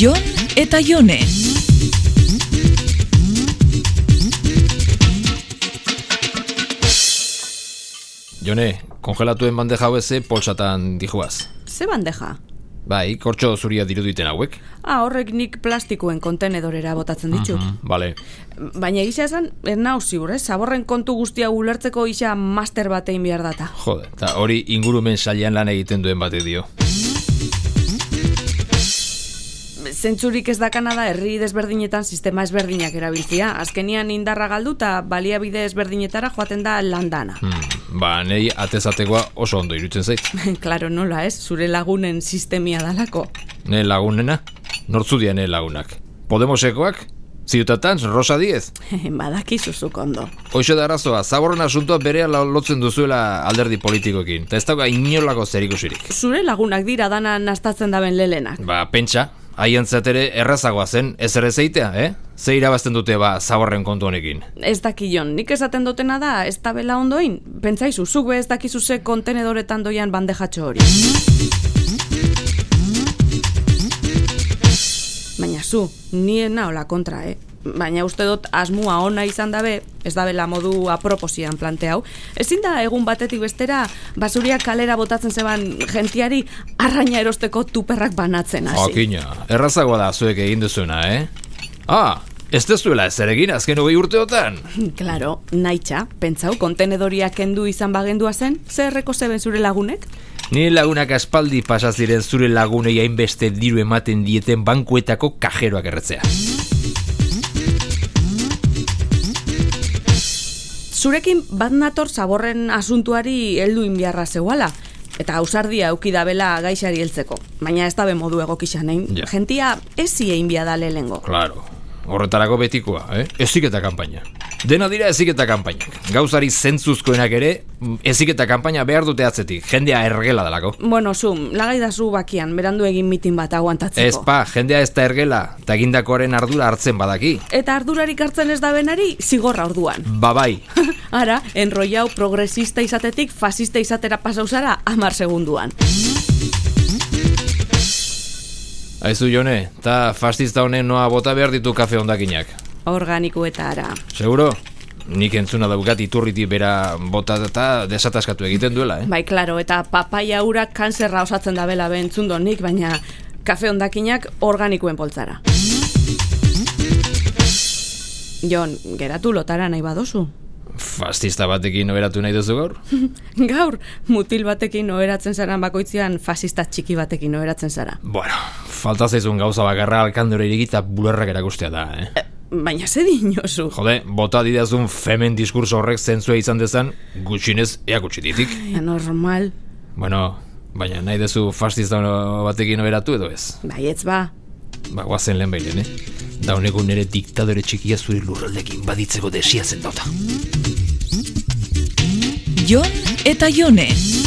Jon eta Jone. Jone, kongelatuen bandeja haueze polsatan dijuaz. Ze bandeja? Bai, kortxo zuria diruditen hauek. Ah, horrek nik plastikoen kontenedorera botatzen ditut. Mm, Bale, Baina gisa esan, ez nau ziur, eh? Zaborren kontu guztia ulertzeko isa master batein behar data. jode, eta hori ingurumen sailan lan egiten duen bate dio. Zentzurik ez dakana da herri desberdinetan sistema ezberdinak erabiltzia. Azkenian indarra galdu eta baliabide ezberdinetara joaten da landana. Hmm, ba, nei atezatekoa oso ondo irutzen zait. Klaro nola ez, zure lagunen sistemia dalako. Ne lagunena? Nortzu dira ne lagunak. Podemosekoak? Ziutatans, Rosa Diez? Badakizu zuk ondo. Hoxe da arazoa, zaborren asuntoa berea lotzen duzuela alderdi politikoekin. Eta ez dauka inolako zerikusirik. Zure lagunak dira dana nastatzen daben lelenak. Ba, pentsa, haien ere errazagoa zen, ez ere zeitea, eh? Ze irabazten dute ba zaborren kontu honekin. Ez dakion, nik esaten dutena da, ez tabela ondoin. Pentsaizu, zuk be ez dakizu ze kontenedoretan doian bandejatxo hori. Baina zu, nien naola kontra, eh? Baina uste dut asmua ona izan dabe, ez dabela modu aproposian planteau. Ezin da egun batetik bestera, basuria kalera botatzen zeban jentiari arraina erosteko tuperrak banatzen hasi. Okina, errazagoa da zuek egin duzuena, eh? Ah, ez dezuela ez ere egin azken hogei urteotan. Claro, naitxa, pentsau, kontenedoria kendu izan bagendua zen, zerreko zeben zure lagunek? Ni lagunak aspaldi pasa ziren zure lagunei hainbeste diru ematen dieten bankuetako kajeroak erretzea. Zurekin bat nator zaborren asuntuari heldu inbiarra zeuala, eta ausardia eukida bela gaixari heltzeko. Baina ez dabe modu egokisa nahin. Ja. Gentia ezi egin bia da lehengo. Claro, horretarako betikoa, eh? Eziketa kanpaina. Dena dira eziketa kanpainak. Gauzari zentzuzkoenak ere, mm, eziketa kanpaina behar dute atzetik, jendea ergela dalako. Bueno, zu, lagai da zu bakian, berandu egin mitin bat aguantatzeko. Ez pa, jendea ez da ergela, eta egindakoaren ardura hartzen badaki. Ba Eta ardurarik hartzen ez da benari, zigorra orduan. Babai, Ara, enroiau progresista izatetik fasista izatera pasauzara amar segunduan. Aizu jone, eta fastista honen noa bota behar ditu kafe ondakinak. Organiko eta ara. Seguro? Nik entzuna daukat iturriti bera bota eta desataskatu egiten duela, eh? Bai, klaro, eta papaia urak kanzerra osatzen da bela bentzundo nik, baina kafe ondakinak organikoen poltzara. Jon, geratu lotara nahi badozu. Fastista batekin oberatu nahi duzu gaur? Gaur, mutil batekin oheratzen zaran bakoitzean fasista txiki batekin oheratzen zara. bueno, falta zaizun gauza bakarra alkandora irigita bularrak erakustea da, eh? Baina ze dinozu. Jode, bota didazun femen diskurso horrek zentzua izan dezan, gutxinez eakutsi ditik. Baina normal. bueno, baina nahi duzu fastista batekin oberatu edo ez? Baietz ba. Ba, guazen lehen bailen, eh? Dauneko nere diktadore txikia zure lurraldekin baditzeko desiatzen dauta. Jon eta Jone.